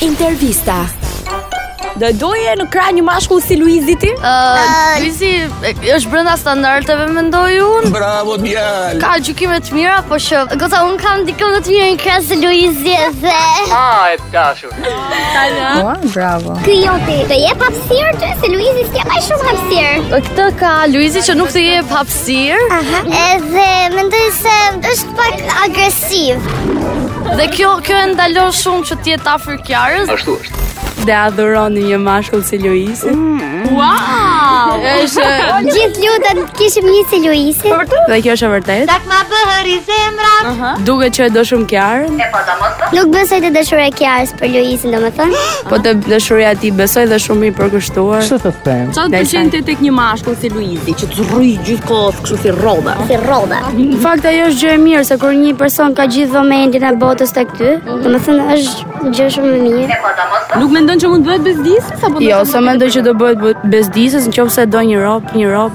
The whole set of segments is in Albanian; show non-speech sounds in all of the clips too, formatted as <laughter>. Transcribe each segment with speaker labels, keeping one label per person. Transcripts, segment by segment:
Speaker 1: Intervista.
Speaker 2: Do doje në krah një mashkull si Luizi ti?
Speaker 3: Ë, Luizi e- është brenda standardeve mendoj unë.
Speaker 4: Bravo djalë.
Speaker 3: Ka gjykime të mira, po që goca un kam dikën më të mirë në krahas së Luizi dhe
Speaker 5: Ah, e të dashur.
Speaker 6: Ua, bravo.
Speaker 7: Ky joti të jep hapësirë ty se Luizi s'ka më shumë hapësirë.
Speaker 3: këtë ka Luizi që nuk të jep hapësirë
Speaker 7: Aha. Edhe mendoj se është pak agresiv.
Speaker 3: dhe kjo kjo e ndalon shumë që të jetë afër kjarës.
Speaker 5: Ashtu është.
Speaker 2: Dhe adhuroni një mashkull si Luizi?
Speaker 3: Mm. <laughs>
Speaker 2: Wow! Është
Speaker 7: Gjithë lutat kishim një si Luizi.
Speaker 2: dhe kjo është e vërtetë.
Speaker 7: Tak ma bëhëri zemra.
Speaker 2: Duket që e do shumë Kiarën,
Speaker 7: Nuk besoj të dashura e Kiarës për Luizin, domethënë.
Speaker 2: po të dashuria e tij besoj dhe shumë i përkushtuar.
Speaker 4: Ço të them?
Speaker 8: Sa të
Speaker 2: Ndaj
Speaker 8: pëlqen te tek një mashkull si Luizi, që të rrij gjithkohë kështu si rroba.
Speaker 7: Si rroba.
Speaker 1: Në fakt ajo është gjë e mirë se kur një person ka gjithë vëmendjen e botës tek ty, domethënë është gjë shumë e mirë.
Speaker 8: Nuk mendon që mund të bëhet bezdisë apo
Speaker 2: Jo, sa mendoj që do bëhet bu- bezdisës nëse do një rop, një rop.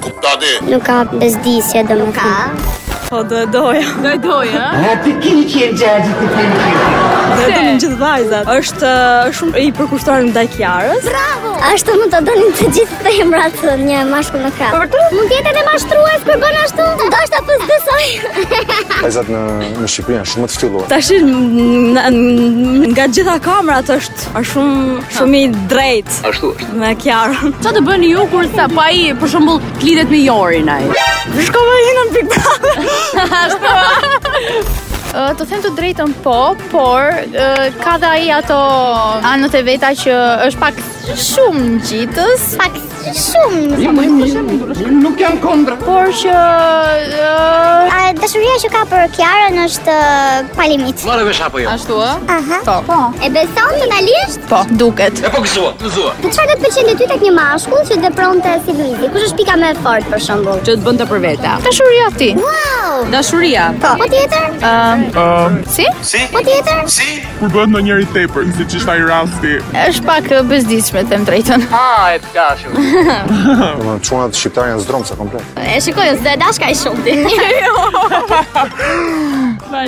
Speaker 7: Nuk ka bezdisje domethënë.
Speaker 2: Po do e doja.
Speaker 8: do e doje, ëh?
Speaker 9: A ti kini që e gjajë të kini
Speaker 2: Do e donin gjithë vajzat. Është uh, shumë i përkushtuar ndaj Kiarës.
Speaker 7: Bravo. Ashtu mund ta donin të gjithë femrat një mashkull në krah. Mund të jetë edhe mashtrues kur bën ashtu? Ndoshta po
Speaker 10: <laughs>
Speaker 7: s'besoj.
Speaker 4: Vajzat në në Shqipëri janë shumë të ftyllur.
Speaker 2: Tash nga gjitha kamrat është është shumë shumë i drejtë
Speaker 5: Ashtu është.
Speaker 2: me Kiarën.
Speaker 8: Ço të bëni ju kur sa pa ai për shembull flitet me Jorin ai?
Speaker 2: Shko me një në Big Brother.
Speaker 10: Ë, Të them të drejtën po, por ë, ka dhe ai ato anët e veta që është pak shumë gjitës,
Speaker 7: Pak shumë.
Speaker 10: po
Speaker 9: Nuk jam kondra
Speaker 10: por që ë,
Speaker 7: A dashuria që ka për Kiarën është ë, pa limit.
Speaker 5: Marrë vesh apo jo?
Speaker 10: ashtu ë?
Speaker 7: Aha. Po. po. E beson totalisht?
Speaker 10: Po, duket.
Speaker 5: E po gëzua, gëzua.
Speaker 7: Po çfarë do të pëlqente ty tek një mashkull që vepronte si Luizi? Kush është pika më e fortë për shembull?
Speaker 8: Që të bënte për vete.
Speaker 10: Dashuria ti.
Speaker 7: Wow!
Speaker 8: Dashuria.
Speaker 7: Po. Po tjetër?
Speaker 10: Ë, si?
Speaker 7: Po tjetër?
Speaker 9: Kur bëhet në njëri tepër, si që shtaj rasti
Speaker 10: Është pak ë, bezdisshme, të them drejtën.
Speaker 5: Ah, e të dashur.
Speaker 4: Domethënë çunat shqiptar janë zdromsa komplet.
Speaker 7: E shikoj, s'do dash kaj shumë ti.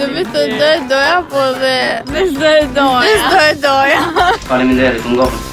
Speaker 10: Do të do e doja, po dhe do e doja.
Speaker 5: Faleminderit, u ngopëm.